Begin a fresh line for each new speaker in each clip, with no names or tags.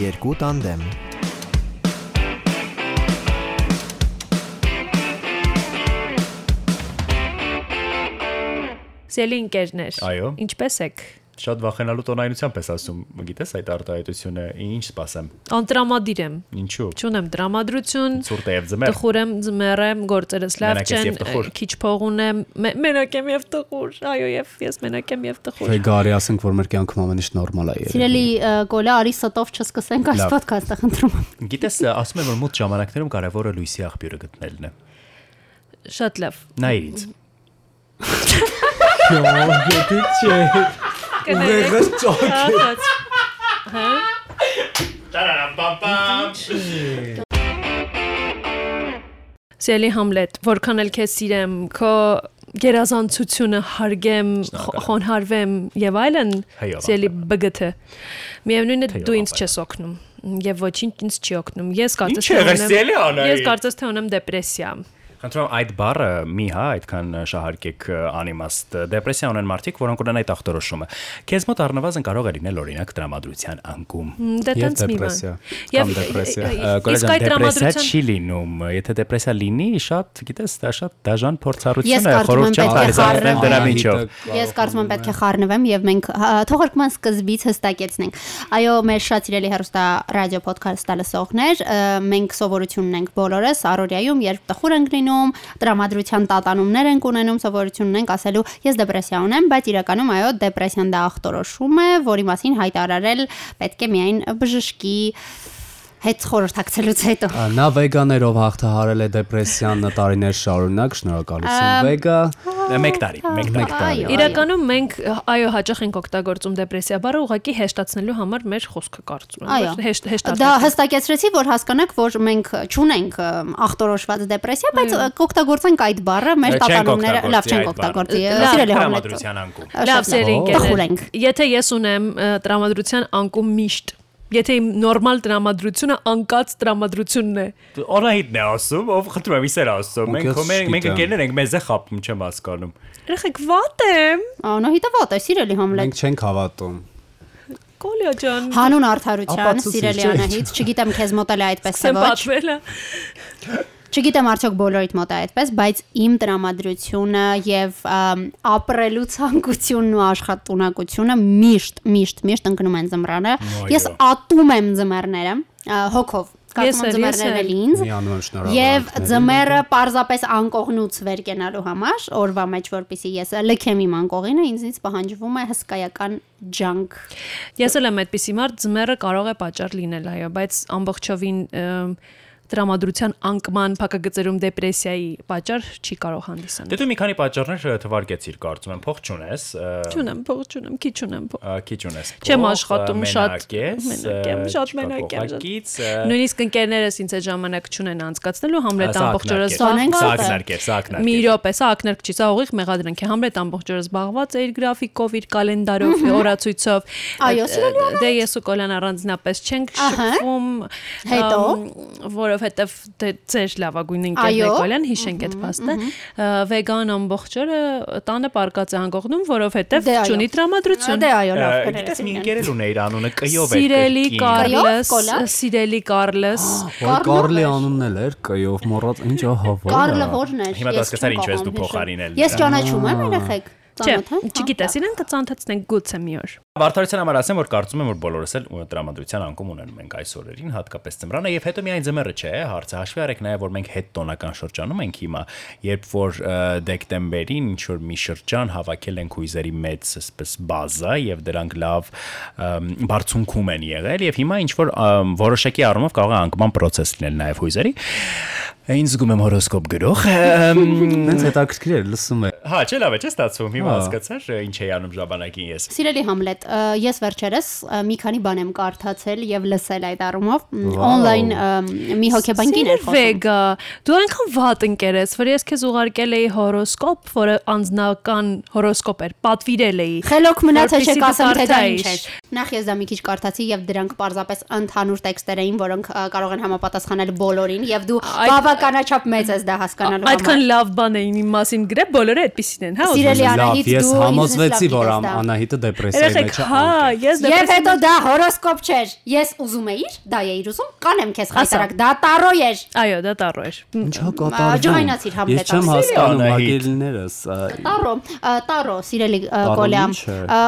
Երկու տանդեմ։
Սելի ընկերներ,
Այո։
ինչպե՞ս եք։
Շատ վախենալու տոնայնությամբ ես ասում, գիտես այդ արտահայտությունը, ինչ սпасեմ։
Անտրամադիր եմ։
Ինչու։
Չունեմ տրամադրություն,
Ցուրտ է եւ ձմեր։
տխուր եմ, ձմեռ եմ, գործերս լավ
Մենակ ես
չեն,
և տխուր։
քիչ փող ունեմ, մե- մենակ եմ եւ տխուր։ Այո, եւ ես մենակ եմ եւ տխուր։
Թե գարի ասենք, որ մեր կյանքում ամեն ինչ նորմալ է եղել։
Սիրելի ը, Գոլա, արի ստով չսկսենք այս
Լավ։
ոդքասթը, խնդրում եմ։
Գիտես, ասում են, որ մոտ ժամանակներում կարևորը լույսի աղբյուրը գտնելն է։
Շատ լավ։
Նա իրից։
Կներեք։ Ահաց, հա։ Սելի Համլետ, որքան էլ քեզ սիրեմ, քո գերազանցությունը հարգեմ, խո- խոնհարվեմ եւ այլն։
Թեյով
Սելի բգթ։ Միևնույնն է
Թեյով
դու ինձ
ապել։
չես օգնում եւ ոչինչ ինձ չի օգնում։ Ես կարծես
Ինչ եղես, Սելի Անահիտ։
Ես կարծես թե ունեմ դեպրեսիա։
Խնդրում եմ, այդ բառը մի հա այդքան շահարկեք ը, անիմաստ դեպրեսիա ունեն մարդիկ, որոնք ունեն այդ ախտորոշումը։ Քեզ մոտ առնվազն կարող է լինել օրինակ տրամադրության անկում։
Դա Դե
Եվ
տենց մի բան։
դեպրեսիա, կամ դեպրեսիա։
ե- ե-
Ա,
Իսկ
Գոլեգան,
այդ
դեպրեսիա
տրամադրության
չի լինում։ Եթե դեպրեսիա լինի, շատ, գիտես, դա շատ դաժան
Ես
փորձառություն է,
կարծում եմ,
խորհուրդ չեմ
պետք է
տալիս
խառնեմ
ասեմ դրա միջով։
Ես կարծում եմ պետք է խառնվեմ եւ մենք հա, թողարկման սկզբից հստակեցնենք։ Այո, մեր շատ սիրելի հերոստա ռադիո ոդքասթը լսողներ, ը, մենք սովորություն ունենք բոլորս Արորիայում, երբ տխուր ենք լինում, տրամադրության տատանումներ ենք ունենում, սովորություն ունենք ասելու, ես դեպրեսիա ունեմ, բայց իրականում այո, դեպրեսիան դա ախտորոշում է, որի մասին հայտարարել պետք է միայն բժշկի հետ խորհրդակցելուց հետո։
Ա, Նա վեգաներով հաղթահարել է դեպրեսիան տարիներ շարունակ, շնորհակալություն վեգա։
Մեկ տարի, մեկ տարի։
Այո, այո։
Իրականում մենք այո հաճախ ենք օգտագործում դեպրեսիա բառը ուղղակի հեշտացնելու համար մեր խոսքը կարծում եմ
Այո։
որ հեշտ հեշտացնել։
Դա հստակեցրեցի, որ հասկանաք, որ մենք ճունենք ախտորոշված դեպրեսիա, բայց ը, կօգտագործենք այդ բառը մեր
Չենք
տատանումները,
օգտագործի
լավ չենք
այդ բառը։
օգտագործի։
Լավ,
Սիրելի Համլետ։
Տրամադրության անկում։
Լավ, սերին
Տխուր
կերներ։
ենք։
Եթե ես ունեմ ը, տրամադրության անկում միշտ, եթե իմ նորմալ տրամադրությունը անկած տրամադրությունն է,
Օրահիտն է ասում, ով խնդրում եմ իսեր ասում։
Ու
Մենք
քեզ
կոմենք, մենք
չգիտեմ։
ընկերներ ենք, մեզ է խապում, չեմ հասկանում։
երեխեք վատ եմ,
Անահիտը ո՞տ է, սիրելի Համլետ։
Մենք չենք հավատում։
Կոլյա ջան։
Հանուն արդարության,
Ապացուցիչ,
սիրելի
չէ՞։
Անահիտ, չգիտեմ քեզ մոտել է այդպես թե
Սեմ
ոչ։
պատվելա։
Չգիտեմ արդյոք բոլորիդ մոտ է այդպես, բայց իմ տրամադրությունը եւ ամ, ապրելու ցանկությունն ու աշխատունակությունը միշտ, միշտ, միշտ ընկնում են զմռանը։ Ես ատում եմ զմռները ա, հոգով։
Ես
Կարծում
էլ,
եմ
ես
զմռներն
էլ։
էլ ինձ։
Միանում եմ
Եվ
շնորհակալություն։
ձմերը պարզապես անկողնուց վեր կենալու համար օրվա մեջ որpիսի ես լքեմ իմ անկողինը ինձից պահանջվում է հսկայական ջանք։
Ես էլ եմ այդպիսի մարդ, ձմեռը կարող է պատճառ լինել, այո, բայց ամբողջովին ըմ, տրամադրության անկման փակագծերում դեպրեսիայի պատճառ չի կարող հանդիսանալ։
Դե դու մի քանի պատճառներ ը, թվարկեցիր, կարծում եմ, փող չունես, ը,
Չունեմ, փող չունեմ, քիչ ունեմ փող։
ա, քիչ ունես։
Չեմ
փող,
աշխատում
ը,
շատ,
մենակ ես,
մենակ եմ,
ը,
շատ
չկա
մենակ եմ, շատ-
փողակից, ը,
Նույնիսկ ընկերներս ինձ այդ ժամանակ չունեն անցկացնելու Համլետ
Սա
ամբողջ օրը
ակնարկ է,
զբաղված
սա
է։
ակնարկ է, սա ակնարկ է։
Մի րոպե, սա ակնարկ չի, սա ուղիղ մեղադրանք է։ Համլետ ամբողջ օրը զբաղված է իր գրաֆիկով, իր կալենդարով, օրացույցով։
Այո, սիրելի
Դե ես ու Կոլան առանձնապես չենք
Ահա։
շփվում։
Հետո?
ամ, որովհետև դե ձեր լավագույն ընկերն է
Այո։
Կոլան, հիշենք այդ փաստը։ Ա, Վեգան ամբողջ օրը տանը պարկած է անկողնում, որովհետև
Դե այո։
չունի տրամադրություն։
Դե այո,
ը,
լավ, կներես,
Գիտես, մի
Սիրան։
ընկերել ունե իր անունը Կյով է։
Սիրելի
Կայո՞,
Կարլես,
Կոլա։
սիրելի Կարլես,
Ոյ Կարլի անունն էլ էր, կայով մոռաց, ինչ հա, ահավոր։
Կարլը ո՞րն է։
Հիմա դասկացար ինչու ես դու փոխարինել։
Ես ճանաչում եմ երեխեք։
Չէ,
ծանոթ եմ, հա,
չգիտես,
լավ։
իրենք կծանոթացնենք գուցե մի օր։
Բարթարության համար ասեմ, որ կարծում եմ, որ բոլորս էլ ու տրամադրության անկում ունեն մենք այս օրերին, հատկապես ծմրանը, եւ հետո միայն ծմերը չէ, հարցը հաշվի առեք նաեւ, որ մենք հետ տոնական շրջանում ենք հիմա, երբ որ ը, դեկտեմբերին ինչ որ մի շրջան հավաքել են քույզերի մեծ այսպես բազա եւ դրանք լավ ըմ, բարձունքում են եղել եւ հիմա ինչ որ ըմ, որոշակի առումով կարող է անկման process լինել նաեւ հույզերի։ Այն զգում եմ հորոսկոպ գրող, ըմ,
Նենց հետաքրքիր էր, լսում եմ։
հա, չէ՞ լավ է, չէ՞ ստացվում, հիմա հասկացար ինչ էի անում ժամանակին ես։
Սիրելի Համլետ, ը, ես վերջերս ը, մի քանի բան եմ կարդացել եւ լսել այդ առումով մ,
Վաո։
on-line ը, մի հոկեբանքին էր խոսում։
Վեգա, դու այնքան վատ ընկեր ես, որ ես քեզ ուղարկել էի հորոսկոպ, որը անձնական հորոսկոպ էր, պատվիրել էի։
Խելոք մնացա
որպեսզի
չեք
դու
ասեմ թե դա
կարդայիր։
ինչ է։ Նախ ես դա մի քիչ կարդացի եւ դրանք parzapes ընդհանուր տեքստեր էին, որոնք ա, կարող են համապատասխանել բոլորին եւ դու
Այդ-
բավականաչափ մեծ ես դա հասկանալու համար։
Այդքան լավ բան էին իմ մասին գրե, բոլորը այդ այդպիսին են, հա։ ուզում
Սիրելի
եմ։
Անահիտ,
ես
դու
համոզվեցի, որ ամ-
Ան
Անահիտը դեպրեսիայի
Երեխեք,
մեջ է։
հա, ես
Եվ
դեպրեսիա
հետո դա հորոսկոպ չէր։ Ես ուզում էի, դա էի ուզում, կանեմ քեզ
Ասա։
հայտարարք, դա տարո էր։
Այո, դա տառո էր։
Ինչա կատարվում։
ջոյնացիր Համլետը,
Ես չեմ
սիրելի
հասկանում
Անահիտ։
ակելներս։
Տարո, ա, տարո, սիրելի ա,
Տարոն
Կոլյա։
ի՞նչ է։
ա,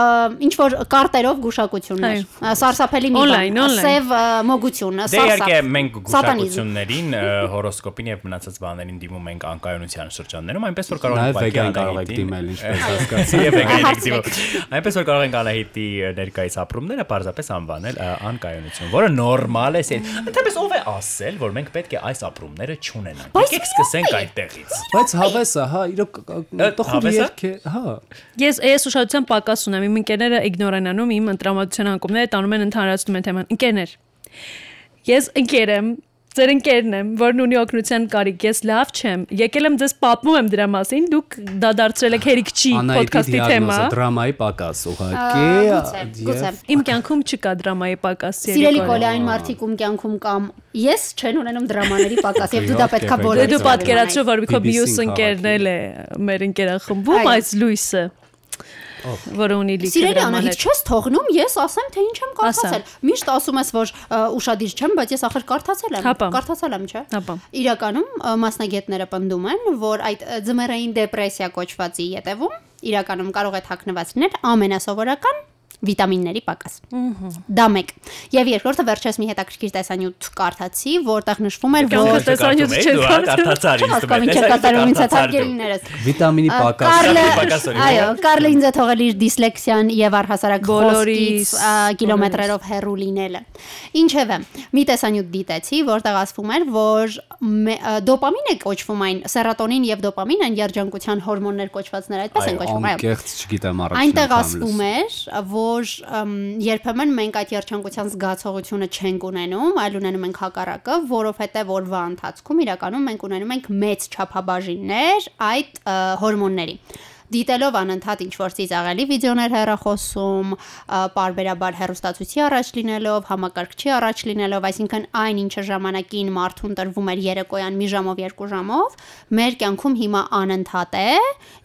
Ինչ որ կարտերով գուշակություններ,
Այո։
ա, սարսափելի մի
Online, online։
սև ա, մոգություն, ա,
Դե իհարկե մենք
Սատանիզմ։
գուշակություններին, ը, հորոսկոպին եւ մնացած բաներին դիմում ենք անկայունության շրջաններում, այնպես որ կարող
Նաև
ենք
վեգան կարող եք դիմել, ինչպես
հասկացի եւ վեգան եք
Հարցրեք։
դիմում։ Այնպես որ կարող ենք Անահիտի ը, ներկայիս ապրումները parzapes անվանել ը, անկայունություն, որը նորմալ է, սեր- ընդհանրապես ով է ասել, որ մենք պետք է այս ապրումները չունենանք։
Բայց
Եկեք
մի
սկսենք
օր է։
այդտեղից։
Բայց հավեսը, հա, իրոք
Ա,
տխուր
հավեսը?
երկե, հա։
Ես ես ուշադրության պակաս ունեմ։ Իմ ընկերները իգնորենանում իմ ընտրամատության անկումները տանում են ընդհանրացնում են թեման։ Ընկերներ։ Ես ընկեր եմ, ձեր ընկերն եմ, որն ունի օգնության կարիք։ Ես լավ չեմ։ Եկել եմ ձեզ պատմում եմ դրա մասին։ Դուք դա դարձրել եք հերիք չի
Անահիտի
ոդքասթի թեմա։
դիագնոզը դրամայի պակաս
Ա,
ուղղակի։
Գուցե, գուցե։
Իմ կյանքում չկա դրամայի պակաս Դե
Սիրելի Կոլյա, այն մարդիկ ում կյանքում կամ ես չեն ունենում դրամաների պակաս, եւ դու դա
Իհարկե,
պետքա
վեգան
Դե
բոլորը։
դու պատկերացրու, որ մի քո
BBC-ն
մյուս ընկերն էլ է մեր ընկերախմբում,
Այո։
այս լույսը, որը ունի լիքը։
Սիրելի
դրամաներ։
Անահիտ, չես թողնում, ես ասեմ, թե ինչ եմ կարդացել։
Ասա։
Միշտ ասում ես, որ ա, ուշադիր չեմ, բայց ես ախր կարդացել եմ։
Հապա։
Կարդացել եմ, չէ՞։
Հապա։
Իրականում ա, մասնագետները պնդում են, որ այդ ա, ձմեռային դեպրեսիա կոչվածի յետևում իրականում կարող է թաքնված լինել ամենասովորական վիտամինների պակաս։ Դա մեկ։ Եվ երկրորդը վերջերս մի հետաքրքիր տեսանյութ կարդացի, որտեղ նշվում էր,
Կյանքը
որ
տեսանյութ
Դու
չեք
հա,
կարդում։
կարդացար ինձ
Չհասկանում ինչ է
տեսա,
կատարում ինձ
կարդացար դու։
հարգելիներս։
Վիտամինի
Ա,
պակաս։
Կարլը,
պակաս օրինակ։
այո, Կարլը ինձ է թողել իր դիսլեքսիան եւ առհասարակ
Բոլորիս,
բոլորից կիլոմետրերով հեռու լինելը։ Ինչևէ, մի տեսանյութ դիտեցի, որտեղ ասվում էր, որ մե- ա, դոպամին է կոչվում այն, սերատոնին եւ դոպամին այն երջանկության հորմոններ կոչվածներ, այդպես են կոչվում, այո։
անկեղծ չգիտեմ առաջ։
Այնտեղ ասվում էր, որ ըմ, երբեմն մենք այդ երջանկության զգացողությունը չենք ունենում, այլ ունենում ենք հակառակը, որովհետև օրվա ընթացքում իրականում մենք ունենում ենք մեծ չափաբաժիններ այդ ը, հորմոնների։ Դիտելով անընդհատ ինչ-որ ծիծաղելի վիդեոներ հեռախոսում, ը, բարբերաբար հեռուստացույցի առաջ լինելով, համակարգչի առաջ լինելով, այսինքն այն ինչը ժամանակին մարդուն տրվում էր երեկոյան մի ժամով, երկու ժամով, մեր կյանքում հիմա անընդհատ է,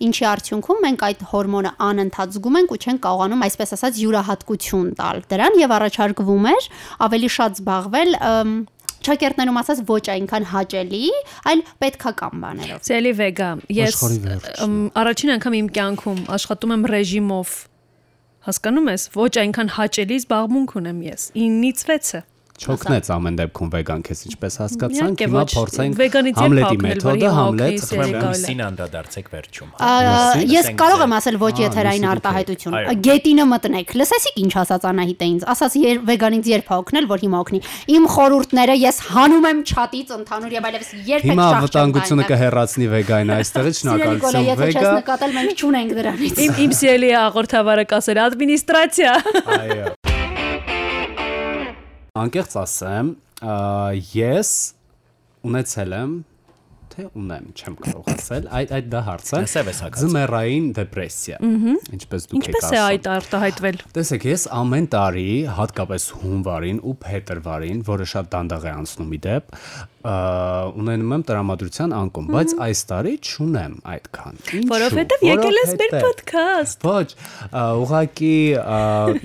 ինչի արդյունքում մենք այդ հորմոնը անընդհատ զգում ենք ու չենք կարողանում, այսպես ասած, յուրահատկություն տալ դրան եւ առաջարկվում էր ավելի շատ զբաղվել ըմ, Չակերտներում ասած ոչ այնքան հաճելի, այլ պետքական բաներով։
Սելի վեգա, ես
Աշխարհի վերջն։
ըմ, առաջին անգամ իմ կյանքում աշխատում եմ ռեժիմով։ Հասկանում ես, ոչ այնքան հաճելի զբաղմունք ունեմ ես։ 9-ից 6-ը։
Չոքնեց ամեն դեպքում վեգան քեզ ինչպես հասկացանք,
Իհարկե,
հիմա
ոչ, վեգանից
փորձենք
էլ փակնել,
Համլետի
որ
մեթոդը,
հիմա
Համլետ
օգնի
խմեմ։
սիրելի
Ուրեմն սին անդրադարձեք վերջում։ հա։
լսի,
Ա, Ես
լսենք
կարող
ձեր-
եմ ասել ոչ
Ա,
եթերային
լսի դուք եք,
արտահայտություն։
այո։
Գետինը մտնեք։ Լսեցիք ինչ ասաց Անահիտը ինձ։ Ասաց եր- վեգանից երբ է օգնել, որ հիմա օգնի։ Իմ խորհուրդները ես հանում եմ չաթից ընթանուր եւ այլևս երբեք
Հիմա
շախ չեմ
վտանգությունը
տա այնտեղ։
կհեռացնի վեգային այստեղից,
Սիրելի
շնորհակալություն
Կոլյա, եթե չես
վեգա։
նկատել, մենք չունենք դրանից։
Իմ իմ սիրելի հաղորդավարը կասեր ադմինիստրացիա։
Այո։
Անկեղծ ասեմ, ա, ես ունեցել եմ թե ունեմ, չեմ կարող ասել, այդ այդ դա հարց է։
Լսև ես հակած։
Ձմեռային դեպրեսիա։ Ինչպես դուք եք
Ինչպես է
ասում։
այդ արտահայտվել։
Տեսեք, ես ամեն տարի, հատկապես հունվարին ու փետրվարին, որը շատ դանդաղ է անցնում իդեպ, ա, ունենում եմ տրամադրության անկում, բայց այս տարի չունեմ այդքան։ Ինչու՞։
Որովհետև եկել ես մեր
Որովհետև-
podcast։
Ոչ, ա, ուղղակի ա,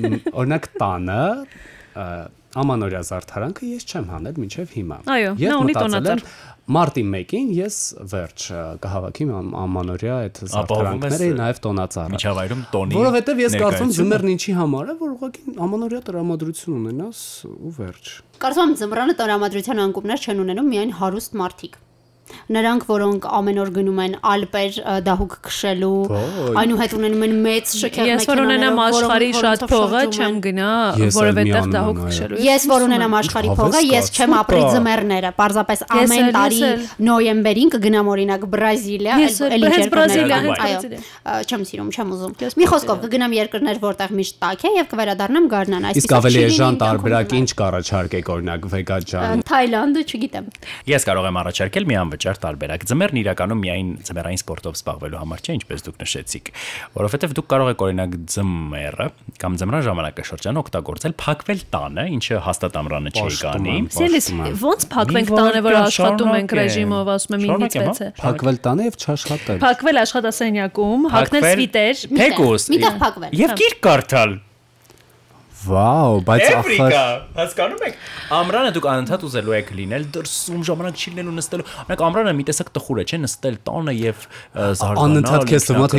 մ, օրինակ տանը ա, ամանորյա զարդարանքը ես չեմ հանել մինչև հիմա։
Այո,
Եվ
նա ունի
մտածել
տոնածառ։
եմ, Մարտի 1-ին ես վերջ ա, կհավաքիմ ամ- ամանորյա այդ
Ապահովում ես,
զարդարանքները, նաև տոնածառը։
Միջավայրում տոնի։
Որովհետև ես կարծում
ներկայությունը։
զմերն ինչի համար է, որ ուղղակի ամանորյա տրամադրություն ունենաս ու վերջ։
Կարծում եմ զմռանը տրամադրության անկումներ չեն ունենում միայն հարուստ մարդիկ։ Նրանք, որոնք ամեն օր գնում են ալպեր ը, դահուկ քշելու,
Ոյ։
այնուհետ ունենում են մեծ շքեղ
Ես որ ունենամ աշխարհի շատ փողը, չեմ գնա,
Ես այլ մի
որովհետև
անուն
դահուկ
ունեմ, այո։
քշելու։
Ես որ ունենամ աշխարհի
Հավես
փողը, ես
կաց,
չեմ ապրի
սուպա։
ձմեռները։ Պարզապես
Ես էլ,
ամեն
ես
տարի
էլ։
նոյեմբերին կգնամ օրինակ Բրազիլիա,
Ես էլ, հենց Բրազիլիա, հենց Բրազիլիա։
Ա, Չեմ սիրում, չեմ ուզում։ Մի խոսքով կգնամ երկրներ, որտեղ միշտ տաք է եւ կվերադառնամ Գառնան, այսպես
Իսկ ավելի էժան տարբերակ ինչ կառաջարկեք օրինակ վեգա ջան։
Թայլանդը, չգիտեմ։
Ես կարող եմ առաջարկել մի անվճար անվճար տարբերակ։ Ձմեռն իրականում միայն ձմեռային սպորտով զբաղվելու համար չէ, ինչպես դուք նշեցիք, որովհետև դուք կարող եք օրինակ ձմեռը կամ ձմռան ժամանակաշրջանը օգտագործել փակվել տանը, ինչը հաստատ ամրանը չի
Պաշտում
գանի։
եմ,
Սիրելիս,
պաշտում եմ։
ոնց փակվենք տանը, որ աշխատում ենք ռեժիմով, ասում եմ 5-ից
հա։
6 է։
Փակվել տանը եւ չաշխատել։
Փակվել աշխատասենյակում, հագնել սվիտեր,
Թեկուս։
Մի տեղ փակվել։ հա։
Եվ գիրք կարդալ։
Վաո, բայց ախր
Էվրիկա, հասկանում եք։ Ամրանը դուք անընդհատ ուզելու եք լինել դրսում ժամանակ չի լինելու նստելու։ Օրինակ ամրանը մի տեսակ տխուր է, չէ՞, նստել տանը եւ ը, զարգանալ։
Անընդհատ քեզ թվում է,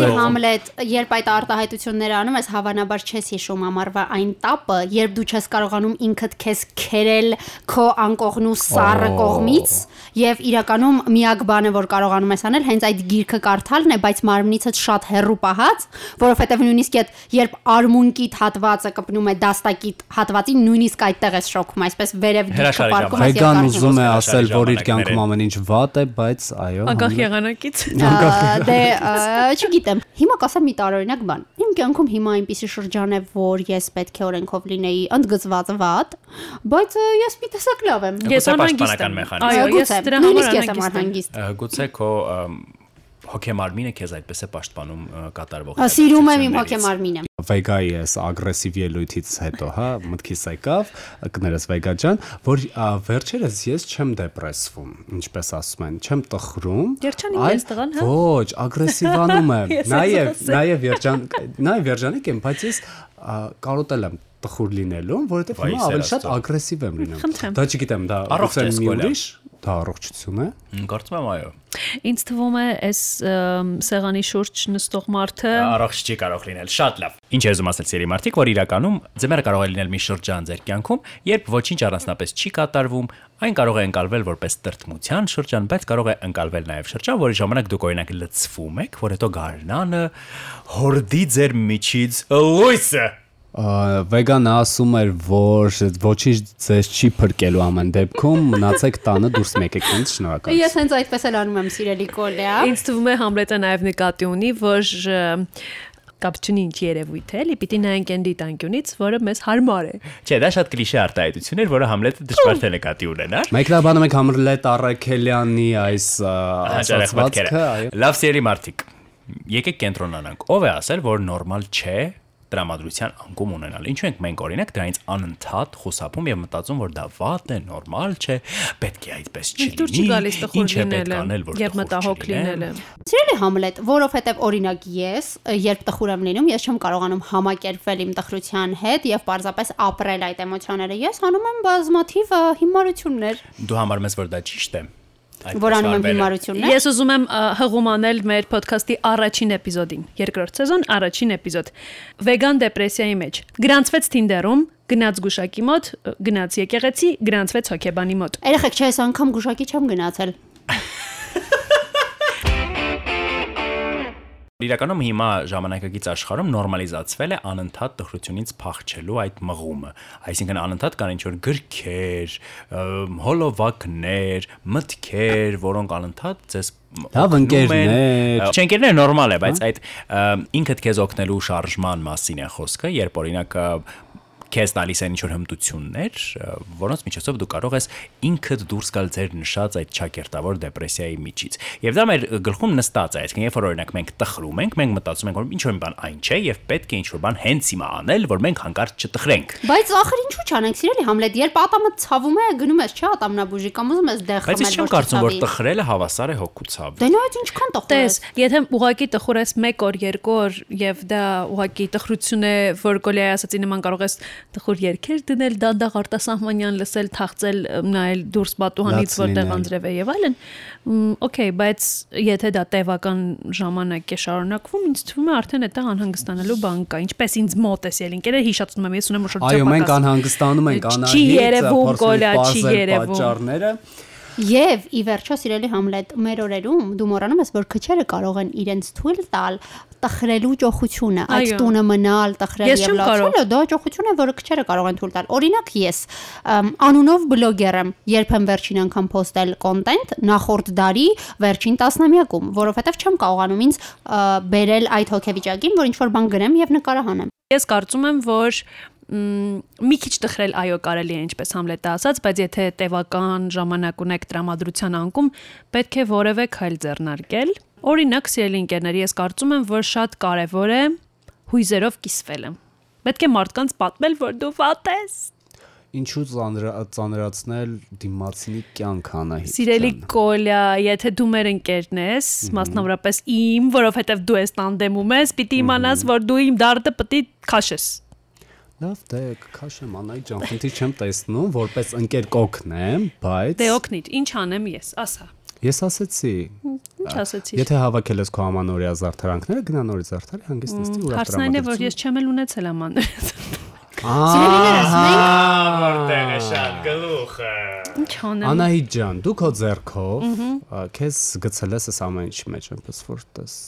թե ինչ-որ
ինքնակցվել, տանը
բանից հետ ես մնացել։ Մնացել։
Սիրելի Համլետ, երբ այդ արտահայտությունները անում ես, հավանաբար չես հիշում ամառվա այն տապը, երբ դու չես կարողանում ինքդ քեզ քերել քո անկողնու սառը կողմից, եւ իրականում միակ բանը, որ կարողանում ես անել, հենց այդ գիրքը կարդալն է, բայց մարմնիցդ շատ հեռու պահած, որովհետեւ նույնիսկ այդ երբ արմունկիդ հատվածը կպնում է դաստակիտ հատվածին, նույնիսկ այդտեղ ես շոկում, այսպես վերև գիրքը
Հրաշալի
պարկում ես եւ
Հայկան
կարդում։
ուզում է
Հաշվի
ասել, որ իր
ժամանակներն են։
կյանքում ամեն ինչ վատ է, բայց այո,
անկախ
համլետ-
եղանակից։
Ա, Դե, ա, չգիտեմ։ Հիմա կասեմ մի տարօրինակ բան։ Իմ կյանքում հիմա այնպիսի շրջան է, որ ես պետք է օրենքով լինեի ընդգծված վատ, բայց ա, ես մի տեսակ լավ եմ։
Ես
Գուցե
անհանգիստ եմ։
պաշտպանական մեխանիզմ։
Այո, ես
Գուցե,
դրա համար
նույնիսկ ես
անհանգիստ եմ։
եմ անհանգիստ։
Ա, Գուցե քո ամ, հոգեմարմինը քեզ այդպես է պաշտպանում ա, կատարվող։
Ա, Հա, Սիրում եմ իմ
իրադարձություններից։
հոգեմարմինը։
Վեգայի էս ագրեսիվ ելույթից հետո, հա, մտքիս եկավ, կներես Վեգա ջան, որ ա, վերջերս ես չեմ դեպրեսվում, ինչպես ասում են, չեմ տխրում։
Երջանիկ
այլ-
ես տղան, հա?
Ոչ, ագրեսիվանում եմ։
Ես
Նաև,
ասեցի։
նաև երջան, նաև երջանիկ եմ, բայց ես ա, կարոտել եմ տխուր լինելուն, որովհետև
Վայ,
հիմա ավելի շատ
Սերաստո։
ագրեսիվ եմ լինում։
Խնդրեմ։
Դա չգիտեմ, դա
Առողջ ես,
գուցե մի
Կոլյան։
ուրիշ, դա առողջություն է։
Մ, Կարծում եմ այո։
Ինձ թվում է, այս ըմ, սեղանի շուրջ նստող մարդը
Առողջ չի կարող լինել, շատ լավ։ Ինչ ես ուզում ասել, սիրի մարդիկ, որ իրականում ձմերը կարող է լինել մի շրջան ձեր կյանքում, երբ ոչինչ առանձնապես չի կատարվում, այն կարող է ընկալվել որպես տրտմության շրջան, բայց կարող է ընկալվել նաև շրջան, որի ժամանակ դուք օրինակ լծվում եք, որ հետո գարնանը հորդի ձեր միջից լույսը
Ա, վեգանը ասում էր, որ ոչինչ ձեզ չի փրկելու ամեն դեպքում, մնացեք տանը դուրս մեկեք ինձ շնորհակալություն։
Ես հենց այդպես էլ անում եմ, սիրելի Կոլյա։
ինձ թվում է Համլետը նաև նկատի ունի, որ ըմ, կապչունի ինչ երևույթ է, լի պիտի նայենք այն դիտանկյունից, որը մեզ հարմար է։
Չէ, դա շատ կլիշե արտահայտություն էր, որը Համլետը դժվար թե նկատի ունենար։
Մեկնաբանում եք Համրլետ Արաքելյանի այս ա,
հաճարախ
ասացվածքը,
մտքերը։
այո։
Լավ սերի մարդիկ։ Եկեք կենտրոնանանք։ Ո՞վ է ասել, որ նորմալ չէ տրամադրության անկում ունենալ։ Ինչու ենք մենք օրինակ դրանից անընդհատ խոսապում եւ մտածում, որ դա վատ է, նորմալ չէ, պետք է այդպես
Ինձ դուր
չլինի։
չի գալիս տխուր
Ինչ է պետք
լինելը
անել, որ
եւ
տխուր
մտահոգ
չլինեմ։
լինելը։
Սիրելի Համլետ, որովհետև օրինակ ես, երբ տխուր եմ լինում, ես չեմ կարողանում համակերպվել իմ տխրության հետ եւ պարզապես ապրել այդ էմոցիաները։ Ես անում եմ բազմաթիվ ա, հիմարություններ,
Դու համարում ես, որ դա ճիշտ է։ Այդպես
որ անում
վարվել
եմ
է։
հիմարություններ։
Ես ուզում եմ ա, հղում անել մեր ոդքասթի առաջին էպիզոդին, երկրորդ սեզոն առաջին էպիզոդ։ Վեգան դեպրեսիայի մեջ գրանցվեց Tinder-ում, գնաց գուշակի մոտ, գնաց եկեղեցի, գրանցվեց հոկեբանի մոտ։
Երեխեք, չէ, ես անգամ գուշակի չեմ գնացել։
Իրականում հիմա ժամանակակից աշխարհում նորմալիզացվել է անընդհատ տխրությունից փախչելու այդ մղումը։ Այսինքն անընդհատ կան ինչ-որ գրքեր, ըմ, հոլովակներ, մտքեր, որոնք անընդհատ ձեզ մ-
Լավ,
օգնում
ընկերներ։
են։ Չէ, ընկերները նորմալ է, բայց այդ ըմ, ինքդ քեզ օգնելու շարժման մասին է խոսքը, երբ օրինակ ը, քեզ տալիս են ինչ-որ հմտություններ, ը, որոնց միջոցով դու կարող ես ինքդ դուրս գալ ձեր նշած այդ ճակերտավոր դեպրեսիայի միջից։ Եվ դա մեր գլխում նստած է, այսինքն երբ որ օրինակ մենք տխրում ենք, մենք մտածում ենք, որ ինչ-որ մի բան այն չէ եւ պետք է ինչ-որ բան հենց հիմա անել, որ մենք հանկարծ չտխրենք։
Բայց ախր ինչու՞ չանենք, սիրելի Համլետ, երբ ատամը ցավում է, գնում ես, չէ՞, ատամնաբուժի կամ ուզում ես դեղ
Բայց ես
խմել,
չեմ կարծում, որ
չցավի։
տխրելը հավասար է հոգու ցավին։
Դե նայած ինչքան տխուր
Տես,
ես։
եթե ուղակի տխուր ես 1 օր, 2 օր եւ դա ուղակի տխրություն է, որ գոլիայ ասացի նման կարող ես տխուր երգեր դնել, դանդաղ արտասահմանյան լսել, թաղցել, նայել դուրս պատուհանից,
Լաց
որտեղ
լինել։
անձրև է եւ այլն։ Մ, Okay, բայց եթե դա տևական ժամանակ է շարունակվում, ինձ թվում է արդեն այդտեղ անհանգստանալու բան կա, ինչպես ինձ մոտ է ելին։ Կերե հիշացնում եմ, ես ունեմ շուտ
Այո, մենք անհանգստանում ենք անահիտ,
Չի երևում,
փորձում
Կոլյա,
ենք
չի
պարզել
երևում։
Պատճառները։
Եվ ի վերջո, սիրելի Համլետ, մեր օրերում դու մոռանում ես, որ քչերը կարող են իրենց թույլ տալ տխրելու ճոխությունը, այդ
Այո։
տունը մնալ, տխրել
Ես
եւ
չեմ կարող։
լացնելը, դա ճոխություն է, որը քչերը կարող են թույլ տալ։ Օրինակ ես ըմ, անունով բլոգեր եմ, երբեմն վերջին անգամ post-ել կոնտենտ նախորդ դարի վերջին տասնամյակում, որովհետեւ չեմ կարողանում ինձ ը, բերել այդ հոգեվիճակին, որ ինչ որ բան գրեմ եւ նկարահանեմ։
Ես կարծում եմ, որ մ, մի քիչ տխրել այո կարելի է ինչպես Համլետը ասաց, բայց եթե տևական ժամանակ ունեք տրամադրության անկում, պետք է որևէ քայլ ձեռնարկել։ Օրինակ, սիրելի ընկերներ, ես կարծում եմ, որ շատ կարևոր է հույզերով կիսվելը։ Պետք է մարդկանց պատմել, որ դու վատ ես։
Ինչու ծանր ծանրացնել դիմացինի կյանքը անահիտ։
Սիրելի
ջան։
Կոլյա, եթե դու մեր ընկերն ես, մասնավորապես իմ, որովհետև դու ես տանդեմում ես, պիտի իմանաս, որ դու իմ դարտը պիտի քաշես։
լավ դե քաշեմ անայի ջան, քնի չեմ տեսնում, որպես ընկեր կոկնեմ, բայց
Դե օգնիդ, ինչ անեմ ես, ասա։
ես ասեցի,
Ինչ ասեցի։
եթե հավաքել ես քո ամանորյա զարդարանքները, գնա նորից զարդարի, հանգիստ նստի ու լավ
Հարցն այն է, որ ես չեմ էլ ունեցել ամանորից։
Սիրելիներս, մենք
Որտեղ է շատ գլուխը։
Ինչ անեմ։
Անահիտ ջան, դու քո ձեռքով ա, քեզ գցել ես այս ամեն ինչի մեջ, այնպես որ տես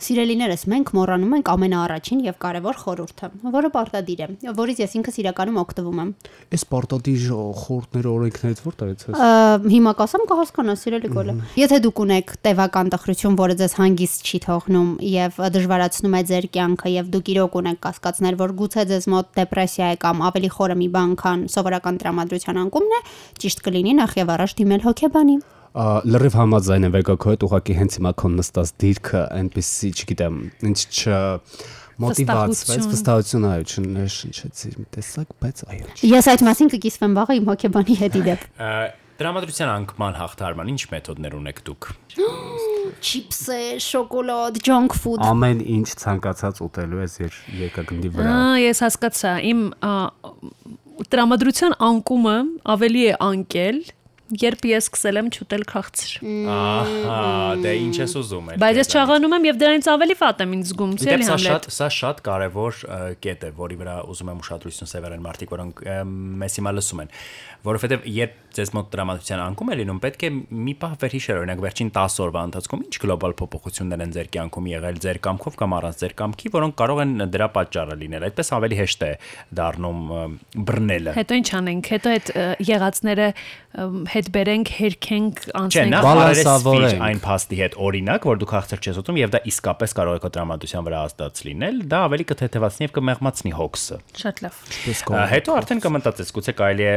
Սիրելիներս, մենք մոռանում ենք ամենաառաջին եւ կարեւոր խորհուրդը, որը պարտադիր է, որից ես ինքս իրականում օգտվում եմ։
Այս պարտադիր խորտները օրենքներից որտեղից է։
Ա, Հիմա կասեմ կհասկանաս, սիրելի գոլը։ Եթե դուք ունեք տևական տխրություն, որը ձեզ հանգիստ չի թողնում եւ դժվարացնում է ձեր կյանքը եւ դուք իրոք ունեք կասկածներ, որ գուցե ձեզ մոտ դեպրեսիա է կամ ավելի խորը մի բան քան սովորական տրամադրության անկումն է, ճիշտ կլինի նախ եւ առաջ դիմել հոգեբանի։
Ա, լրիվ համաձայն եմ եկա քո հետ ուղակի հենց հիմա քո նստած դիրքը այնպեսի, չգիտեմ, ինչ չ մոտիվացվեց,
Վստահություն։
վստահություն այո, չնշեցի մի տեսակ, բայց այո։
Ես այդ մասին կկիսվեմ վաղը իմ հոգեբանի հետ իդեպ։
Դրամատուրգիան անկման հաղթարման ինչ մեթոդներ ունեք դուք։
Չիպսեր, շոկոլադ, junk food։
Ամեն ինչ ցանկացած ուտելու ես եր երկագնդի վրա։
Ահա, ես հասկացա։ Իմ ա, տրամադրության անկումը ավելի է անկել, երբ ես սկսել եմ չուտել քաղցր։
Ահա, դե ինչ ես ուզում ել։
Բայց ես չաղանում եմ եւ դրանից ավելի վատ եմ ինձ զգում,
Դե
ցելի
սա
Համլետ։
շատ սա շատ կարևոր ը, կետ է, որի վրա ուզում եմ ուշադրություն սևեռել մարդիկ, որոնք ը, մեզ հիմա լսում են, որովհետև երբ ձեզ մոտ դրամատուրգիան անկում է լինում, պետք է մի պահ վերհիշել, օրինակ վերջին 10 օրվա ընթացքում ինչ գլոբալ փոփոխություններ են ձեր կյանքում եղել, ձեր կամքով կամ առանց ձեր կամքի, որոնք կարող են դրա պատճառը լինել։ Այդպես ավելի հեշտ է դառնում ը, բռնելը։
Հետո ինչ անենք, հետո այդ ը, եղածները ը, հետ բերենք, հերքենք,
Չէ,
անցնենք։
նախ
Բալանսավորենք։
բարերեսվիր այն փաստի հետ օրինակ, որ դու քաղցր չես ուտում եւ դա իսկապես կարող է քո դրամատուրգիան վրա ազդած լինել, դա ավելի կթեթևացնի եւ կմեղմացնի հոգսը։
Շատ լավ։
Ինչպես
Ա,
կա։
Հետո արդեն կմտածես, գուցե կարելի է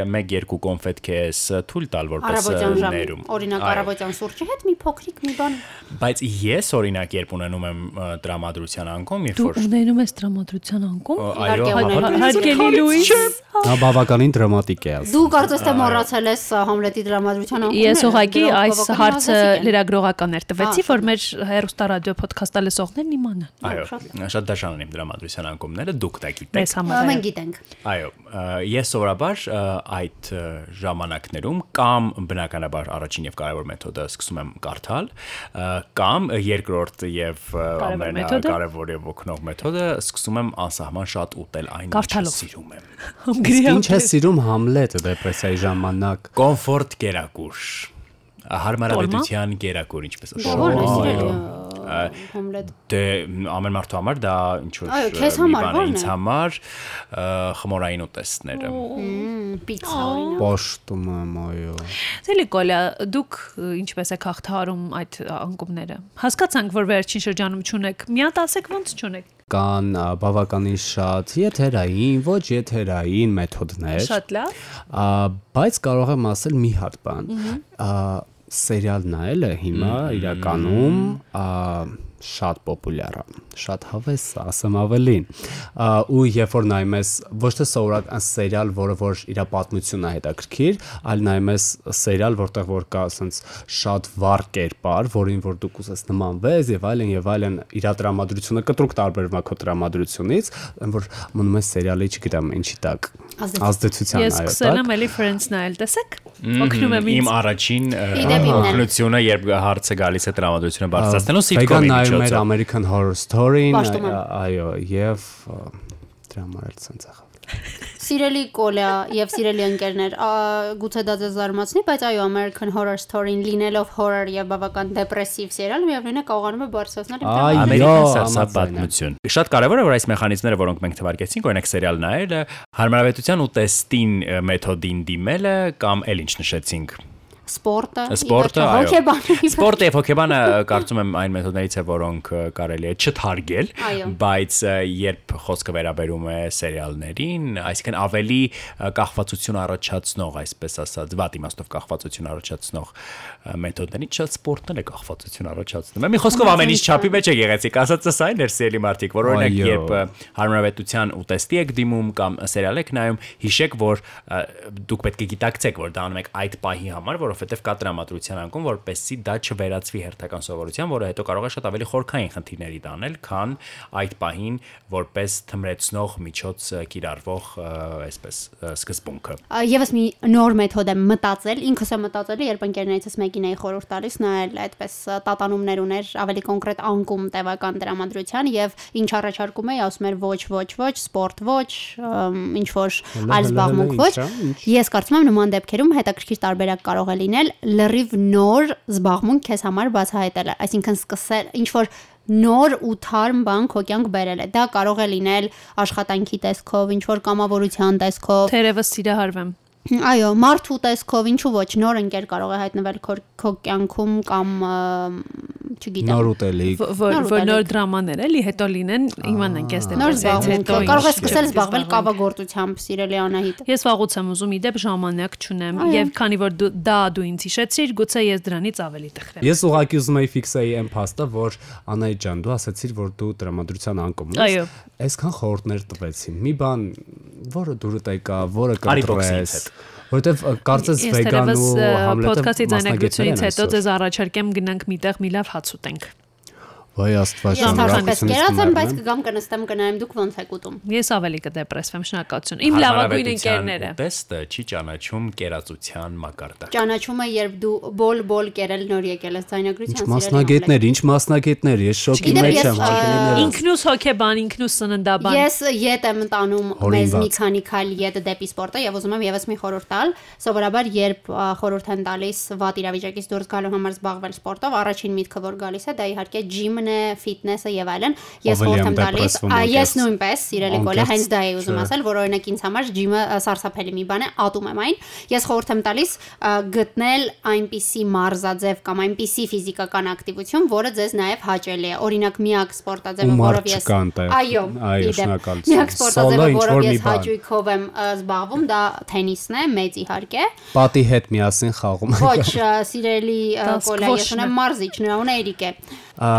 1-2 կոնֆետ քեզ թույլ տալ որպես
Արաբոցյան
ը,
ժամ։
ներում։
Օրինակ
Այո,
արաբոցյան սուրճի հետ մի փոքրիկ մի բան։
Բայց ես օրինակ երբ ունենում եմ ը, տրամադրության անկում, երբ
Դու
որ
ունենում ես տրամադրության անկում։
այո, հա,
իհարկե
հավատում եմ,
ունենում եմ։
Հարգելի Լուիս,
Նա բավականին դրամատիկ է ասում։
Դու կարծես թե մոռացել ես ա, Համլետի դրամատուրգիան անկումն
ես
է,
ուղղակի
դրանք
այս հարցը
բավականին ազդեցիկ են։
լրագրողական
Ա,
երթվեցի, որ մեր հերոստա ռադիո ոդքասթը լսողներն իմանան։
այո, շատ դաշան ունեմ դրամատուրգիան անկումները, դուք դա գիտեք։
Մեզ
Ա,
համար։ այո։
Մենք գիտենք։
Այո, ը, ես սովորաբար ը, այդ ը, ժամանակներում կամ բնականաբար առաջին եւ կարևոր մեթոդը սկսում եմ կարդալ, ը, կամ երկրորդ եւ ը,
մեթոդը։
ամենակարևոր եւ օգնող մեթոդը սկսում եմ անսահման շատ ուտել այն, ինչը
Կարդալով։
սիրում եմ։
Ինչ է սիրում Համլետը դեպրեսիայի ժամանակ։
Կոմֆորտ գերակուր։ Հարմարավետության գերակուր, ինչպես
Դա Որն է
Ա,
սիրելի ա, Համլետ։
Դե մ, ամեն մարդու համար դա ինչ որ
Այո, քեզ համար որն
ինձ
է?
համար ը, խմորային ուտեստները։
Մմ, Պիցցա օրինակ։
Պաշտում եմ, այո։
Ցելի Կոլյա, դուք ը, ինչպես եք հաղթարում այդ ա, անկումները։ Հասկացանք, որ վերջին շրջանում ճունեք։ Մի հատ ասեք ոնց ճունեք։
Կան ա, բավականին շատ եթերային, ոչ եթերային մեթոդներ։
Շատ լավ։
Ա, բայց կարող եմ ասել մի հատ բան։ Ա, Սերիալ նայելը հիմա իրականում ա, շատ պոպուլյար է, շատ հավես է, ասեմ ավելին։ Ա, Ու երբ որ նայում ես ոչ թե սովորական սերիալ, որը որ իր պատմությունն է հետաքրքիր, այլ նայում ես սերիալ, որտեղ որ կա ասենց շատ վառ կերպար, որին որ դու կուզես նմանվես եւ այլն եւ այլն իր դրամատրությունը կտրուկ տարբերվում է քո դրամատրությունից, այն որ մնում է սերիալի, չգիտեմ, ինչի տակ
Ազդեցություն։
ազդեցության
Ես
այո,
սկսել
տակ։
եմ էլի Friends-ն այլ, տեսեք։ Օգնում եմ
Իմ
ինձ։
առաջին ը,
Իդեպ իմն է։
օգնությունը, երբ հարցը գալիս է տրամադրությունը բարձրացնելու
Վեգան
սիտկոմի
նայում էր
միջոցով։
American Horror Story-ն,
Պաշտում եմ։
այ- այո, եւ ա, դրա համար էլ ցենց ախավ։
Սիրելի Կոլյա եւ սիրելի ընկերներ, ա, գուցե դա ձեզ զարմացնի, բայց այո, American Horror Story-ն լինելով horror եւ բավական դեպրեսիվ սերիալ, միևնույնն է կարողանում է բարձրացնել իմ
Այո,
Ամերիկյան
համաձայն եմ։
տրամադրությունը։
սարսափատմություն։ Շատ կարևոր է որ այս մեխանիզմները, որոնք մենք թվարկեցինք, օրինակ սերիալ նայելը, հարմարավետության ու տեստին ը, մեթոդին դիմելը կամ էլ ինչ նշեցինք
սպորտը, ի
Սպորտը,
վերջո, հոգեբանը։ ի
Սպորտը եւ հոկեբանը կարծում եմ այն մեթոդներից է, որոնք ը, կարելի է չթարգել,
Այո։
բայց ը, երբ խոսքը վերաբերում է սերիալներին, այսինքն ավելի ը, կախվածություն առաջացնող, այսպես ասած, վատ իմաստով կախվածություն առաջացնող ը, մեթոդներից շատ սպորտն էլ է կախվածություն առաջացնում։ Մի խոսքով ամեն ինչ չափի մեջ է գեղեցիկ, ասած սա այն էր սիրելի մարդիկ, որ օրինակ
Այո։
երբ ը, հարմարավետության ուտեստի եք դիմում կամ սերիալ եք նայում, հիշեք, որ ա, դուք պետք է գիտակցեք, որ դա անում եք այդ պահի համար, որովհետև կա դրամատուրգիան անկում, որպեսզի դա չվերածվի հերթական սովորության, որը հետո կարող է շատ ավելի խորքային խնդիրների տանել, քան այդ պահին որպես թմրեցնող միջոց ա, կիրառվող ա, այսպես ա, սկզբունքը։
Ա, Եվս մի նոր մեթոդ եմ մտածել, ինքս եմ մտածել, երբ ընկերներիցս մեկին էի խորհուրդ տալիս, նա էլ այդպես ա, տատանումներ ուներ, ավելի կոնկրետ անկում տևական դրամատրության եւ ինչ առաջարկում էի, ասում էր ոչ, ոչ, ոչ, սպորտ ոչ, ինչ որ
Հլա,
այլ
հլա,
զբաղմունք
հլա,
ոչ։
ինչա, ինչ։
Ես կարծում եմ նման դեպքերում հետաքրքիր տարբերակ կարող է լինել լրիվ նոր զբաղմունք քեզ համար բացահայտելը, այսինքն սկսել ինչ որ նոր ու թարմ բան քո կյանք բերել է։ Դա կարող է լինել աշխատանքի տեսքով, ինչ որ կամավորության տեսքով,
Թերևս սիրահարվեմ։
Այո, մարդու տեսքով ինչու ոչ նոր ընկեր կարող է հայտնվել քո քո կյանքում կամ ը, չգիտեմ։
Նոր ուտելիք։
Ո- որ
Նոր
որ նոր
ուտելիք։
դράմաներ էլի հետո լինեն հիմա նենքես դեպի
Նոր
այդից
զբաղմունք։
հետո ինչ չես զբաղվի։
Կարող է սկսել զբաղվել կավագործությամբ, սիրելի Անահիտ։
Ես վաղուց եմ ուզում իդեպ ժամանակ չունեմ եւ քանի որ դու դա դու ինձ հիշեցիր, գուցե ես դրանից ավելի տխրեմ։
Ես ուղակի ուզում եի ֆիքսեի այն փաստը, որ Անայի ջան, դու ասացիր, որ դու դրամատրության անկում
Այո։
ես։ Այսքան խորհուրդներ տվեցին։ Մի բան, որը դուրդ եկա, որը
Արի բոքսից
կտրվեց, որովհետև ը, կարծես
Ես
վեգան
թերևս
ու
ը,
համլետը
podcast-ի ձայնագրությունից հետո
այսօր։
ձեզ առաջարկեմ գնանք միտեղ մի լավ հաց ուտենք։
Վայ աստված,
Ես հաշվպես
շնորհակալություն
կերած
հա։
կմեռնեմ։
եմ, բայց կգամ կնստեմ կնայեմ դուք ոնց եք ուտում։
Ես ավելի կդեպրեսվեմ, շնորհակալություն։ Իմ լավագույն ընկերները։
Ուտեստը չի ճանաչում կերածության մակարդակ։
Ճանաչումը, երբ դու բոլ-բոլ կերել նոր եկել ես
Ինչ
ցայնագրության
մասնագետներ, ինչ մասնագետներ, ես շոկի մեջ եմ,
Գիտեք, ես, ա,
անկելիներս։
Ինքնուս հոկեբան, ինքնուս սննդաբան։
Ես ետ եմ տանում մեզ
Հորինված։
մի քանի քայլ ետ դեպի սպորտը եւ ուզում եմ եւս մի խորհուրդ տալ։ Սովորաբար երբ ա, խորհուրդ են տալիս վատ իրավիճակից դուրս գալու համար զբաղվել սպորտով, առաջին միտքը որ գալիս է դա իհարկե ջիմն է, ֆիթնեսը եւ այլն։ Ես
Ավելի
խորհուրդ եմ
եմ
տալիս,
դեպրեսվում
ա,
անկեղծ-
ես նույնպես, սիրելի գոլը,
անկեղծ
հենց դա եի ուզում
չէ։
ասել, որ օրինակ ինձ համար ջիմը ա, սարսափելի մի բան է, ատում եմ այն։ Ես խորհուրդ եմ տալիս ա, գտնել այնպիսի մարզաձև կամ այնպիսի ֆիզիկական ակտիվություն, որը ձեզ նաեւ հաճելի է։ Օրինակ միակ
Ու
սպորտաձևը,
մարդ
որով ես
չկա այնտեղ։
Այո,
Այո,
ի դեպ,
շնորհակալություն։
Միակ
Սոլո
սպորտաձևը,
ինչ-որ
որով
մի
ես
բան։
հաճույքով եմ ը, զբաղվում, դա թենիսն է, մեծ իհարկե։
Պատի հետ միասին խաղում ենք։
Ոչ, ը, սիրելի ը,
Դա
Կոլա, ես
squash-ն է։
ունեմ մարզիչ, նրան Էրիկ է։
Ա,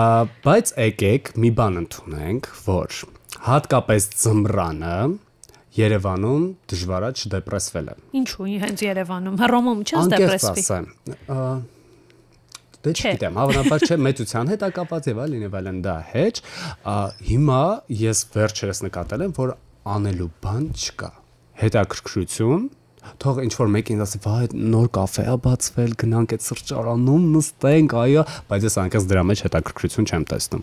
բայց եկեք մի բան ընդունենք, որ հատկապես ծմրանը Երևանում դժվարա չդեպրեսվելը։
Ինչու՞ հենց Երևանում, Հռոմում չես
Անկեղծ
դեպրեսվի։
ասեմ, ա, դե
Չէ։
չգիտեմ, հավանաբար չէ մեծության հետ ակապված եւ այլն եւ այլն դա հետ, ա, հիմա ես վերջերս նկատել եմ, որ անելու բան չկա։ Հետաքրքրություն Թող ինչ որ մեկին ասի, «Վայ, նոր կաֆե է բացվել, գնանք այդ սրճարանում նստենք», այո, բայց ես անկես դրա մեջ հետաքրքրություն չեմ տեսնում։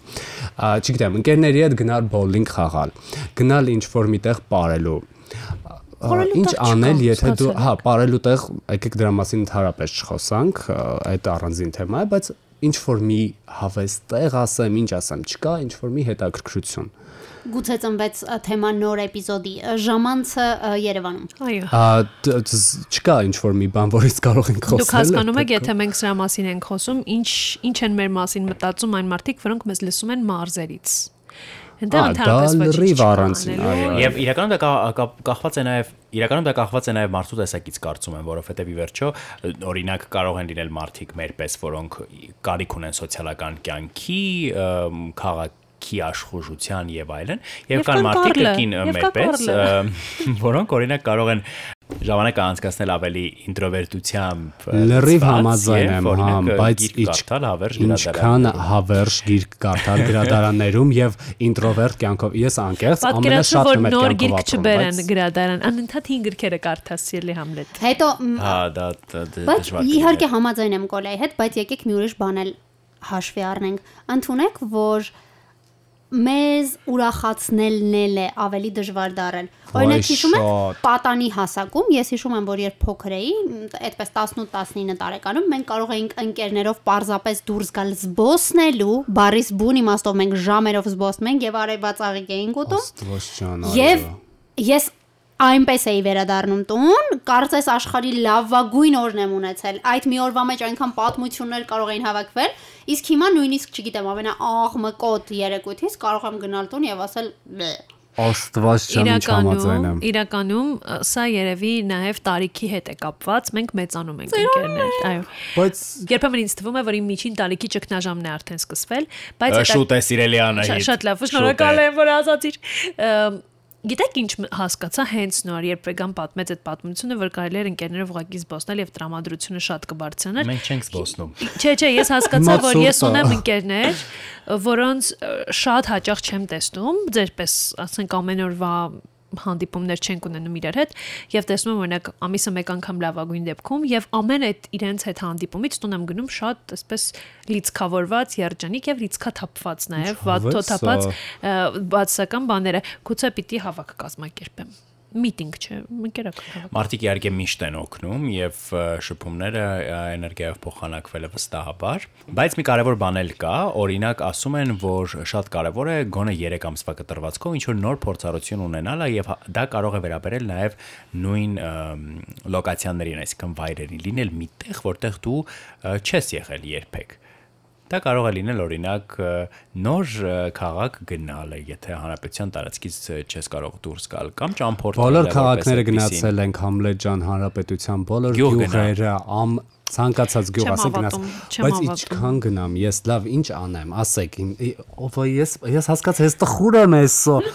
Ա, Չգիտեմ, ընկերների հետ գնալ bowling խաղալ, գնալ ինչ որ միտեղ ապարելու։ Ա,
Պարելու
Ինչ
տեղ չկա,
անել, եթե դու,
ստացել
հա, ապարելու տեղ, եկեք դրա մասին ընդհանրապես չխոսանք, ա, այդ առանձին թեմա է, բայց ինչ որ մի հավես տեղ ասեմ, ինչ ասեմ, չկա, ինչ որ մի հետաքրքրություն։
Գուցե ծնվեց ը, թեման նոր էպիզոդի ը, ժամանցը ը, Երևանում։
Այո։
Ա, դ- դ- Չկա ինչ որ մի բան, որից կարող ենք խոսել։
Դուք հասկանում եք,
այդ
եթե մենք սրա մասին ենք խոսում, ինչ ինչ են մեր մասին մտածում այն մարդիկ, որոնք մեզ լսում են մարզերից։ Դա
Ա,
ընդհանրապես
դա
ոչինչ
լրիվ
չկա
առանցին,
անելու,
այո, այո։
Եվ իրականում դա կա- կա- կախված է նաև իրականում դա կախված է նաև մարդու տեսակից կարծում եմ, որովհետև ի վերջո օրինակ կարող են լինել մարդիկ մերպես, որոնք կարիք ունեն սոցիալական կյանքի, ըմ, քաղաքի աշխուժության եւ այլն, եւ
Եվ
կան
կան
մարդիկ
կառլը,
ըկին
եւ կա
մերպես,
կառլը։
ըմ, որոնք օրինակ կարող են ժամանակը անցկացնել ավելի ինտրովերտությամբ ը,
Լրիվ
ծված
համաձայն
եւ,
եմ, հա,
օրինակ,
բայց
գիրք կարդալ հավերժ գրադարան։
ինչքան հավերժ գիրք կարդալ գրադարաններում եւ ինտրովերտ կյանքով։ Ես անկեղծ
Պատկերացրու,
ամենաշատը
որ
մեր
նոր
կյանքով
գիրք
ապրում,
չբերեն
բայց
գրադարան, անընդհատ 5 գրքերը կարդաս Սիրլի Համլետ։
Հետո մ,
Հա, դա դա- դա-
Բայց
դժվար կլիներ։
իհարկե համաձայն եմ Կոլայի հետ, բայց եկեք մի ուրիշ բան էլ հաշվի առնենք։ Անթունեք, որ մեզ ուրախացնելն էլ է ավելի դժվար դարել։
Վայ,
Օրինակ հիշում եք
շատ։
պատանի հասակում, ես հիշում եմ, որ երբ փոքր էի, մ, այդպես 18-19 տարեկանում մենք կարող էինք ընկերներով parzapes դուրս գալ զբոսնելու, բարիս բուն իմաստով մենք ժամերով զբոսնում ենք եւ արևածաղիկ էինք ուտում։
Աստված ջան,
Եվ ես այնպես էի վերադառնում տուն, կարծես աշխարի լավագույն օրն եմ ունեցել։ Այդ մի օրվա մեջ այնքան պատմություններ կարող էին հավաքվել, իսկ հիմա նույնիսկ չգիտեմ, ամենաաղմկոտ երեկույթից կարող եմ գնալ տուն եւ ասել՝ «Բե»։
Աստված ջան, ինչ
Իրականում,
համաձայն եմ։
իրականում ա, սա երևի նաև տարիքի հետ է կապված։ Մենք մեծանում ենք ընկերներ, այո։
Բայց
Երբեմն ինձ թվում է, որ իմ միջին տարիքի ճգնաժամն է արդեն սկսվել, բայց
Ա,
հետա-
Շուտ է սիրելի Անահիտ։
Շա- Շատ լավ, շնորհակալ եմ, որ ասացիր։ Ամ, Գիտեք ինչ մ- հասկացա հենց նոր, երբ Վեգան պատմեց այդ պատմությունը, որ կարելի էր ընկերներով ուղակի զբոսնել եւ տրամադրությունը շատ կբարձրանար։
Մենք չենք զբոսնում։
Չէ, չէ, ես հասկացա,
Հիմա
որ ես
ցուրտ է։
ունեմ ընկերներ, որոնց ը, շատ հաճախ չեմ տեսնում, ձերպես, ասենք ամեն օրվա հանդիպումներ չենք ունենում իրար հետ եւ տեսնում եմ օրինակ ամիսը մեկ անգամ լավագույն դեպքում եւ ամեն այդ իրենց հետ հանդիպումից տուն եմ գնում շատ այսպես լիցքավորված, երջանիկ եւ լիցքաթափված նաեւ,
հավես
վաթոթափած
ա։
բացական բաները, գուցե պիտի հավաք կազմակերպեմ։ Միտինգ չէ, ընկերական հավաք։
Մարտիկ իհարկե միշտ են օգնում եւ ը, շփումները ը, էներգիայով փոխանակվել է վստահաբար, բայց մի կարևոր բան էլ կա, օրինակ ասում են, որ շատ կարևոր է գոնե 3 ամսվա կտրվածքով ինչ որ նոր փորձառություն ունենալը եւ հա- դա կարող է վերաբերել նաեւ նույն ըմ, լոկացիաներին, այսինքն վայրերին, լինել միտեղ, որտեղ դու ը, չես եղել երբեք։ Դա կարող է լինել օրինակ ը, նոր ը, քաղաք գնալը, եթե հանրապետության տարածքից ը, չես կարող դուրս գալ կամ ճամփորդել։
բոլոր
որպես
քաղաքները
այդպիսին։
գնացել ենք Համլետ ջան հանրապետության բոլոր
Գյուղ գնա։
գյուղերը, ամ ցանկացած գյուղ
Չեմ
ասենք գնաց,
հավատում, չեմ
բայց
հավատում։
ինչքան գնամ, ես լավ ինչ անեմ, ասեք, իմ- ի- ով է ես, ես հասկացա, ես տխուր եմ այսօր։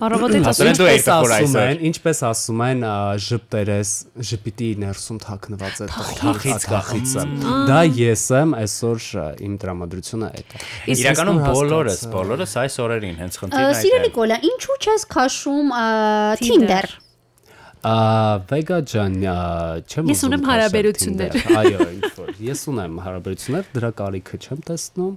Առավոտից
Ասել են դու
Ինչպես
եք տխուր
ասում
այսօր։
են, ինչպես ասում են, ա, ժպտերես, ժպիտի ներսում թաքնված է
Թախից կա,
թախիցը։ Դա ես եմ այսօր ա, իմ դրամատրությունը այդ է։
Իսկ
Իրականում
ես նոր
բոլորս,
հասկացա։
բոլորս այս օրերին հենց
Ա,
խնդիրն այդ
Սիրելի
է։
Կոլա, ինչու չես քաշում ա,
Tinder։
Tinder։
Ա, Վեգա ջան, ա, չեմ
Ես
ուզում
ունեմ
քաշել
հարաբերություններ։
Tinder-ը, Այո, ինչ որ։ Ես ունեմ հարաբերություններ, դրա կարիքը չեմ տեսնում։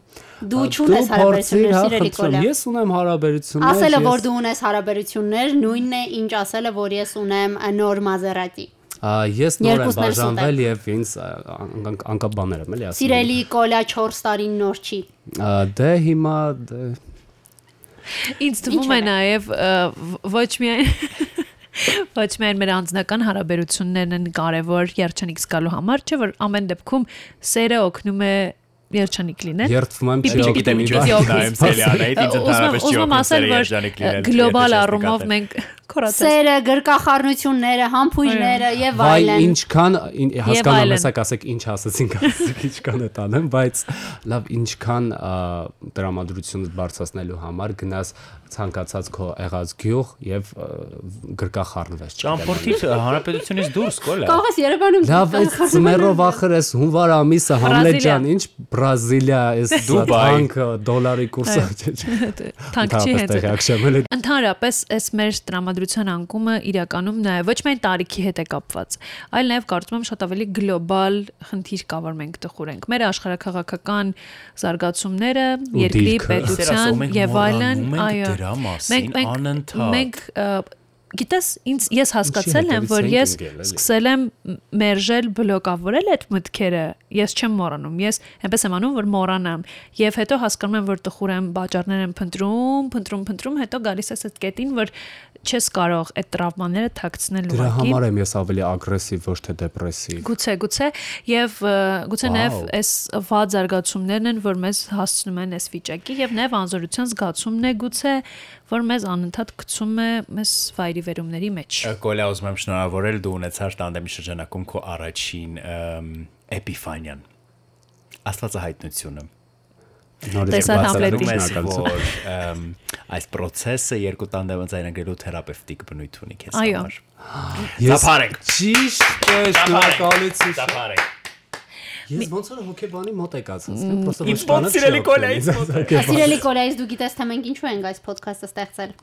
Դու
Ա,
չունես
փորձիր,
հարաբերություններ,
հա,
սիրելի
խնդրեմ,
Կոլա։
Ես ունեմ հարաբերություններ։
Ասելը,
ես-
որ դու ունես հարաբերություններ, նույնն է, ինչ ասելը, որ ես ունեմ ա, նոր Maserati։
Ա, ես նոր եմ
Երկուսն էլ սուտ են։
բաժանվել եւ ինձ ա, ան- ան- անկապ բաներ եմ էլի ասում։
Սիրելի Կոլա 4 տարին նոր չի։
Ա, Դե հիմա դե,
Ինձ թվում է
Ինչո՞ւ
նաև ը, ո- ոչ միայն ոչ միայն մեր անձնական հարաբերություններն են կարևոր երջանիկ զգալու համար, չէ՞ որ ամեն դեպքում սերը օգնում է երջանիկ լինել։
երթվում եմ
Պիպի,
չիոք
Չգիտեմ
մի
ինչու
բան։
Սիրելի
ես նայեմ Սելիանը,
Ա, Ուզում
ինձ ընդհանրապես
ուզում եմ ասել,
չի
որ գլոբալ առումով մենք քորացել
Սերը, գրկախառնությունները, համբույրները եւ
Վայ,
այլն։
ինչքան ին- հասկանում եմ,
այլն։
հեսակ ասեք ինչ ասեցինք, ասեք ինչքան է տանեմ, բայց լավ, ինչքան ա, դրամատրությունը բարձրացնելու համար գնաս ցանկացած քո եղած գյուղ եւ ա, գրկախառնվես։ չգիտեմ,
ճամփորդի հանրապետությունից դուրս գոլա։
Կարող ես Երևանում
Լավ, այս ծմերով ախր էս հունվար ամիսը Համլետ
Բրազիլիա։
ջան, ինչ Բրազիլիա, էս
Դուբայ։
բանկը դոլարի կուրսը չէ, չէ։
թանկչի հետ։ է դա։
Ակշեմել է։
Ընդհանրապես, այս մեր տրամադրության անկումը իրականում նաև ոչ միայն տարիքի հետ է կապված, այլ նաև կարծում եմ շատ ավելի գլոբալ խնդիր կա, որ մենք տխուր ենք։ Մեր աշխարհակաղակական զարգացումները, երկրի
դիրքը։
պետության եւ այլն, այո։
դրա
Մենք
մասին
մենք
անընդհատ։
մենք ը, գիտես ինձ ես հասկացել եմ
հետևից
որ
ենք
ես
ընկել, էլի։
սկսել եմ մ- մերժել բլոկավորել այդ մտքերը ես չեմ մոռանում ես այնպես եմ անում որ մոռանամ եւ հետո հասկանում եմ որ տխուր եմ բաճարներ եմ փնտրում փնտրում փնտրում հետո գալիս ես այդ կետին որ չես կարող այդ տրավմաները թաքցնել
Դրա
ուղղակի
համար եմ ես ավելի ագրեսիվ, ոչ թե դեպրեսիվ։
գուցե գուցե եւ ը, գուցե նաեւ
Վաո։
այս վատ զարգացումներն են որ մեզ հասցնում են այս վիճակի եւ նաեւ անզորության զգացումն է գուցե որ մեզ անընդհատ գցում է մեզ վայրի վերումների մեջ
Գոլա ուզում եմ շնորհավորել դու ունեցար տանդեմի շրջանակում քո առաջին ըմ, Էպիֆանիան։ Աստվածահայտնությունը։
Նորից
Տեսա Համլետի։
Ասում ես,
շնորհակալություն։
որ ըմ, այս process-ը երկու տանդեմը ձայնագրելու թերապևտիկ բնույթ ունի քեզ
Այո։
համար։
Ես
Ծափարեք։
ճիշտ է, շնորհակալություն։
Ծափարեք։
Ես ոնց որ հոկեբանի մոտ եկացած, պրոստո
Ինձ ո՞նց սիրելի Կոլայից մոտ։
Սիրելի Կոլայից դու գիտես, թե մենք ինչու ենք այս ոդքասթը ստեղծել։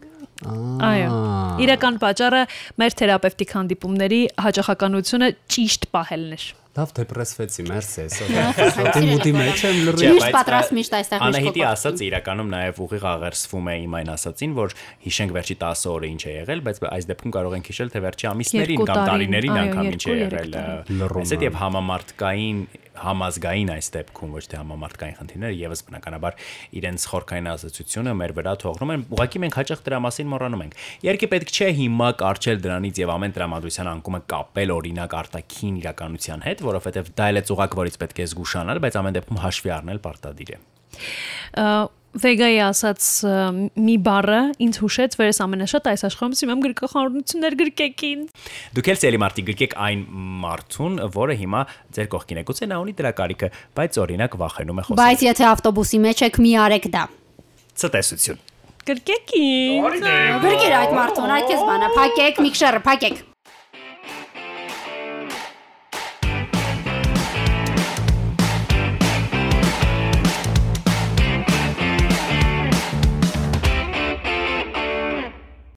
Այո։ Իրական պատճառը մեր թերապևտիկ հանդիպումների հաջողականությունը ճիշտ պահելն էր։
լավ դեպրեսվեցի, մերսի
Ահա,
այսօր։ Շոտի
խնդիր է
մուտի
եկել,
մեջ եմ լրի։
Չէ, Միշտ պատրաստ, միշտ այստեղ, միշտ
Անահիտի
կոկորդին։
ասած իրականում նաև ուղիղ աղերսվում է իմ այն ասածին, որ հիշենք վերջի 10 օրը ինչ է եղել, բայց այս դեպքում կարող ենք հիշել թե վերջի ամիսներին
Երկու
կամ
տարին,
տարիներին
այո,
անգամ ինչ
երկու,
է
երեք
եղել։
տարին։
Լռում
Այսինքն
է։
եւ համամարտկային համազգային այս դեպքում ոչ թե համամարտկային խնդիրները եւս բնականաբար իրենց խորքային ազդեցությունը մեր վրա թողնում են։ Ուղղակի մենք հաճախ դրա մասին մոռանում ենք։ Երկի պետք չէ հիմա կարճել դրանից եւ ամեն դրամատուրգիան անկումը կապել օրինակ արտաքին իրականության հետ, որովհետեւ դա էլ է ծուղակվորից պետք է զգուշանալ, բայց ամեն դեպքում հաշվի առնել պարտադիր է։
Ա, Վեգայի ասած ը, մի բառը ինձ հուշեց, որ ես ամենաշատ այս աշխարհում սիրում եմ գրկախառնություններ գրկեք ինձ։
Դուք էլ ցելի մարտի գրկեք այն մարտուն, որը հիմա ձեր կողքին է։ Գուցե նա ունի դրա կարիքը, բայց օրինակ վախենում է
Բայց
խոսել։
եթե ավտոբուսի մեջ եք, մի արեք դա։
Ցտեսություն։
Գրկեք ինձ։
Գրկեր այդ մարդուն, այդ քեզ բանը, փակեք, միքշերը, փակեք։